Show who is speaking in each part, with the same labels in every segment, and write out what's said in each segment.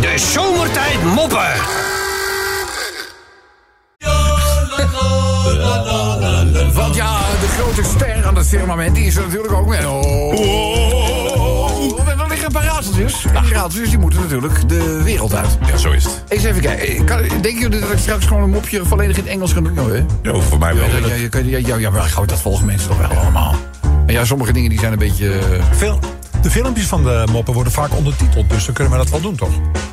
Speaker 1: De zomertijd moppen.
Speaker 2: Want ja, de grote ster aan het firmament die is er natuurlijk ook mee. Oh. En dan liggen een paar raadseltjes. En die raadseltjes die moeten natuurlijk de wereld uit.
Speaker 3: Ja, zo is het.
Speaker 2: Eens even kijken. Eh, Kan, denken jullie dat ik straks gewoon een mopje volledig in het Engels kan doen? joh, hè?
Speaker 3: Ja, voor mij wel.
Speaker 2: Ja, ja, ja, ja, ja, maar goed, dat volgen mensen toch wel allemaal. En ja, sommige dingen die zijn een beetje... eh,
Speaker 4: Veel, de filmpjes van de moppen worden vaak ondertiteld, dus dan kunnen we dat wel doen, toch?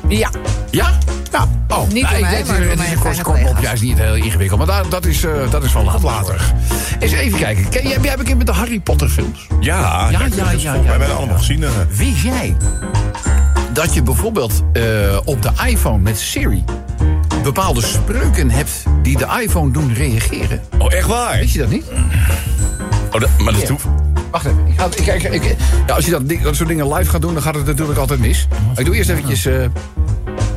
Speaker 5: Ja.
Speaker 2: Ja? Ja. Oh,
Speaker 5: Niet door
Speaker 2: ik
Speaker 5: mij,
Speaker 2: deed-
Speaker 5: maar door
Speaker 2: Het is
Speaker 5: mijn
Speaker 2: een korte
Speaker 5: fijne
Speaker 2: kop op.
Speaker 5: collega's.
Speaker 2: Ja, is niet heel ingewikkeld. Maar daar, dat, is, eh, dat is van later. Eens even kijken. Ken, jij, jij hebt bekend met de Harry Potter films.
Speaker 3: Ja,
Speaker 2: Ja, ja,
Speaker 3: dat is volgens
Speaker 2: ja,
Speaker 3: mij
Speaker 2: ja,
Speaker 3: bijna
Speaker 2: ja.
Speaker 3: allemaal gezien. eh.
Speaker 2: Wist jij dat je bijvoorbeeld eh, op de iPhone met Siri bepaalde spreuken hebt die de iPhone doen reageren?
Speaker 3: Oh, echt waar?
Speaker 2: Weet je dat niet?
Speaker 3: Oh, dat, maar dat is toe-
Speaker 2: Wacht even. Ik ga, ik, ik, ik- ja, als je dat, ding- dat soort dingen live gaat doen, dan gaat het natuurlijk altijd mis. Maar ik doe eerst eventjes... eh,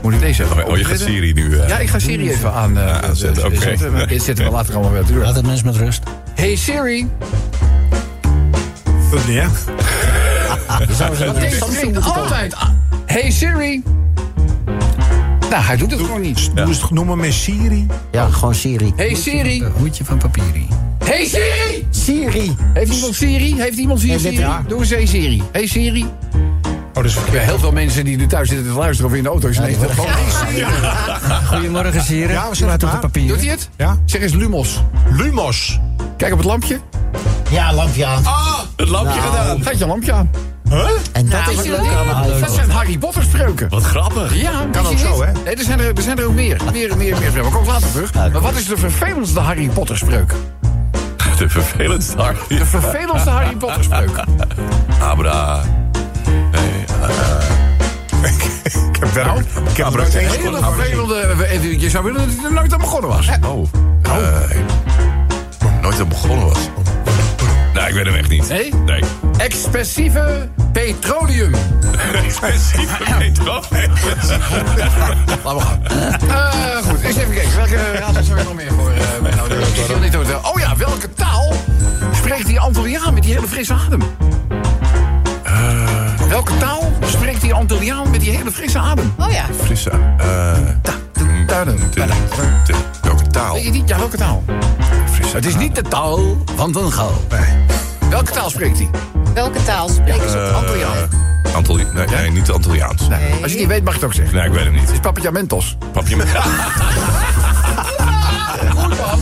Speaker 2: moet ik deze even
Speaker 3: Oh, je gaat
Speaker 2: openzetten?
Speaker 3: Siri nu. eh.
Speaker 2: Ja, ik ga Siri even aan. eh, eh,
Speaker 3: zetten, oké.
Speaker 2: zetten. Maar Dit zetten we later allemaal weer terug.
Speaker 6: Laat het mensen met rust.
Speaker 2: Hey Siri,
Speaker 4: Dat niet, hè?
Speaker 2: deze klinkt altijd. a- Hey Siri. Nou, hij doet het gewoon niet.
Speaker 4: Doe eens het noemen met Siri. Oh,
Speaker 6: Ja, gewoon Siri.
Speaker 2: Hey Siri.
Speaker 6: Hoedje van papieri.
Speaker 2: Hey Siri.
Speaker 6: Siri!
Speaker 2: Heeft iemand Siri? Heeft iemand hier
Speaker 6: Heeft dit
Speaker 2: Siri?
Speaker 6: raar?
Speaker 2: Doe eens hey Siri. Hey Siri.
Speaker 4: Oh, dus
Speaker 2: Ja, heel veel mensen die nu thuis zitten te luisteren of in de auto zijn.
Speaker 6: die worden- Goedemorgen, Siri.
Speaker 4: Ja, we zetten het
Speaker 6: Laat op de
Speaker 4: maar.
Speaker 6: papier.
Speaker 2: Doet hij het?
Speaker 4: Ja.
Speaker 2: Zeg eens Lumos.
Speaker 4: Lumos.
Speaker 2: Kijk op het lampje.
Speaker 6: Ja, lampje aan.
Speaker 3: Ah, Het lampje
Speaker 2: Nou.
Speaker 3: gedaan.
Speaker 2: Gaat je lampje aan.
Speaker 6: En dat is
Speaker 2: Weet je dat
Speaker 6: leuk allemaal
Speaker 2: niet?
Speaker 6: leuk.
Speaker 2: Dat zijn Harry Potter spreuken.
Speaker 3: Wat grappig.
Speaker 2: Ja,
Speaker 4: Kan
Speaker 2: weet je
Speaker 4: ook zo,
Speaker 2: niet?
Speaker 4: hè?
Speaker 2: Nee, er zijn er, er zijn er ook meer. Meer, meer, meer. Maar kom later terug. Maar wat is de vervelendste Harry Potter spreuk?
Speaker 3: De vervelendste hart.
Speaker 2: De vervelendste Harry Potter spreuk.
Speaker 3: Abra. Nee,
Speaker 4: Ik heb wel. Ik heb er ook één
Speaker 2: Hele
Speaker 4: seconde.
Speaker 2: vervelende... Je zou willen dat hij er nooit aan begonnen was.
Speaker 3: Oh. Eh, ik- nooit aan begonnen was. Nee, ik weet hem echt niet.
Speaker 2: Nee?
Speaker 3: Nee.
Speaker 2: Expressieve petroleum.
Speaker 3: Expensieve metro.
Speaker 2: Laat maar gaan. Eh, goed, eens even kijken. Welke raadsels zijn er nog meer voor? eh, mijn oude- Ik wil niet horen. Oh ja, welke taal spreekt die Antilliaan met die hele frisse adem? Eh, Welke taal spreekt die Antilliaan met die hele frisse adem?
Speaker 5: Oh ja.
Speaker 3: Frisse. eh,
Speaker 2: Tuinen.
Speaker 3: de- de- Welke taal?
Speaker 2: Weet je niet? Ja, welke taal?
Speaker 3: Frisse
Speaker 2: Het is niet de taal van Van Gaal. Welke taal spreekt hij?
Speaker 5: Welke taal spreken
Speaker 2: Eh,
Speaker 5: ze op
Speaker 2: Antilliaan.
Speaker 3: adem. Antilli- nee, nee, niet Antilliaans. Nee.
Speaker 2: Als je het niet weet, mag je het ook zeggen.
Speaker 3: ik weet hem niet.
Speaker 2: Het is Papagiamentos.
Speaker 3: Papje
Speaker 2: Goed man.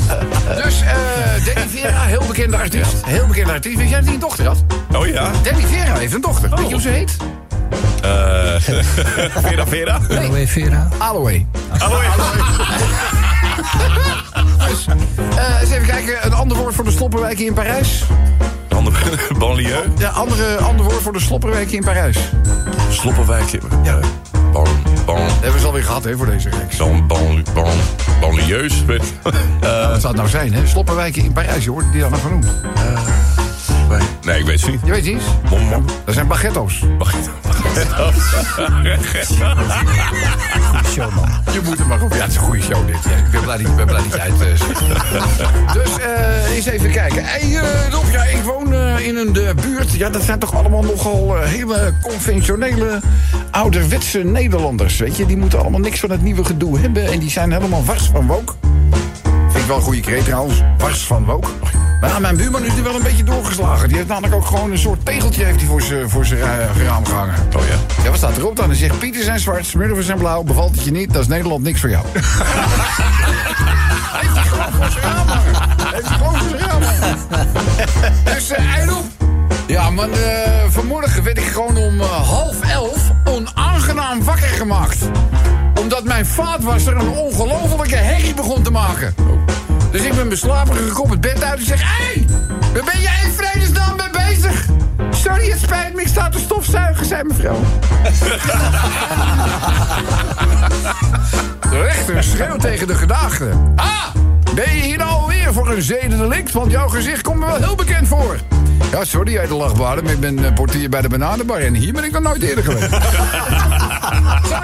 Speaker 2: Dus eh Danny Vera, heel bekende artiest. Heel bekende artiest. Weet jij dat hij een dochter had?
Speaker 3: Oh ja.
Speaker 2: Danny Vera heeft een dochter. Weet je hoe ze heet?
Speaker 3: Eh, Vera Vera.
Speaker 6: Hallo, Vera.
Speaker 2: Alloway.
Speaker 3: Hallo.
Speaker 2: Eh, eens even kijken, een ander woord voor de sloppenwijken in Parijs.
Speaker 3: Andere banlieue.
Speaker 2: Ja, andere, ander woord voor de sloppenwijken in Parijs. Dat
Speaker 3: Sloppenwijk. Ja. Ban, ban,
Speaker 2: hebben ze alweer gehad, hè, voor deze reeks.
Speaker 3: dan ban, ban, banlieus. weet- Eh,
Speaker 2: Wat zou het nou zijn, hè? Sloppenwijken in Parijs, je hoort die dan nog genoemd.
Speaker 3: nee, ik weet het niet.
Speaker 2: Je weet iets?
Speaker 3: Mom, mom.
Speaker 2: Dat zijn baguettos.
Speaker 3: Wacht even.
Speaker 2: Je moet er maar op. Ja, het is een goede show, dit. Ja, ik ben blij dat ik ben blij dat je uit eh, zit. Dus eh, eens even kijken. Hey, eh, Rob, ja, ik woon eh, in een eh, buurt. Ja, dat zijn toch allemaal nogal eh, hele conventionele, ouderwetse Nederlanders. Weet je, die moeten allemaal niks van het nieuwe gedoe hebben. En die zijn helemaal wars van wook. Vind ik wel een goede kreet trouwens. Wars van wook. Maar ja, mijn buurman is nu wel een beetje doorgeslagen. Die heeft namelijk ook gewoon een soort tegeltje heeft hij voor zijn voor zijn, eh, raam gehangen.
Speaker 3: Oh ja.
Speaker 2: Ja, wat staat erop dan? Hij zegt, pieten zijn zwart, smurfen zijn blauw. Bevalt het je niet, dan is Nederland niks voor jou. Heeft hij gewoon voor zijn raam hangen. Heeft hij gewoon voor zijn raam hangen. Dus, eh en op. Ja, man, eh, vanmorgen werd ik gewoon om eh, half elf onaangenaam wakker gemaakt. Omdat mijn vaatwasser een ongelofelijke herrie begon te maken. Dus ik ben beslaperige kop het bed uit en zeg... Hé, hey, waar ben jij in vredesnaam mee bezig? Sorry, het spijt me, ik sta te stofzuigen, zei mevrouw. De rechter schreeuwt tegen de gedaagde. Ah, ben je hier nou alweer voor een zedendelict? Want jouw gezicht komt me wel heel bekend voor. Ja, sorry, jij de lachbare, maar ik ben eh, portier bij de bananenbar... en hier ben ik nog nooit eerder geweest. Zal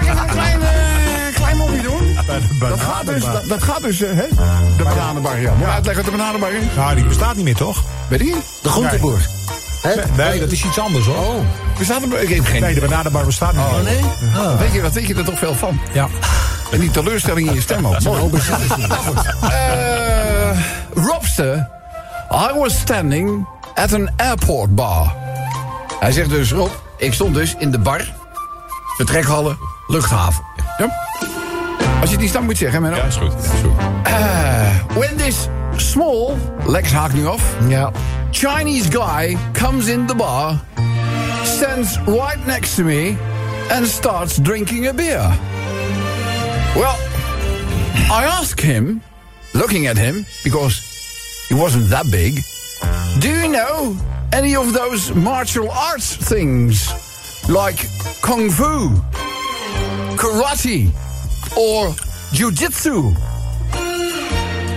Speaker 2: ik even een klein, eh, klein mopje doen? Dat gaat dus, dat, dat gaat dus eh, hè? De bananenbar, ja. Moet je uitleggen wat de bananenbar is?
Speaker 4: Ja, die bestaat niet meer, toch?
Speaker 2: Weet je?
Speaker 6: De groenteboer.
Speaker 4: Nee, dat is iets anders hoor.
Speaker 3: Oh.
Speaker 2: Bestaat er, ik heb geen Ah.
Speaker 4: Nee, de bananenbar bestaat niet. meer.
Speaker 6: Nee?
Speaker 2: Weet je, wat weet je er toch veel van?
Speaker 4: Ja.
Speaker 2: En die teleurstelling in je stem ook. Mooi. Eh, Robster, I was standing at an airport bar. Hij zegt dus, Rob, ik stond dus in de bar, vertrekhallen, luchthaven. Ja? Als je het niet stand moet zeggen, Menno.
Speaker 3: Ja, is goed. Ja, is goed.
Speaker 2: When this small, Lex haakt nu af,
Speaker 6: Ja.
Speaker 2: Chinese guy comes in the bar, stands right next to me, and starts drinking a beer. Well, I ask him, looking at him, because he wasn't that big, do you know any of those martial arts things? Like kung fu, karate, or jujitsu?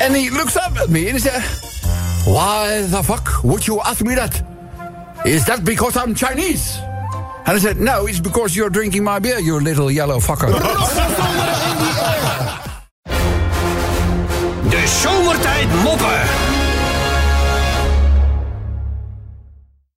Speaker 2: And he looks up at me and he says, why the fuck would you ask me that? Is that because I'm Chinese? And I said, no, it's because you're drinking my beer, you little yellow fucker.
Speaker 1: De zomertijd moppen.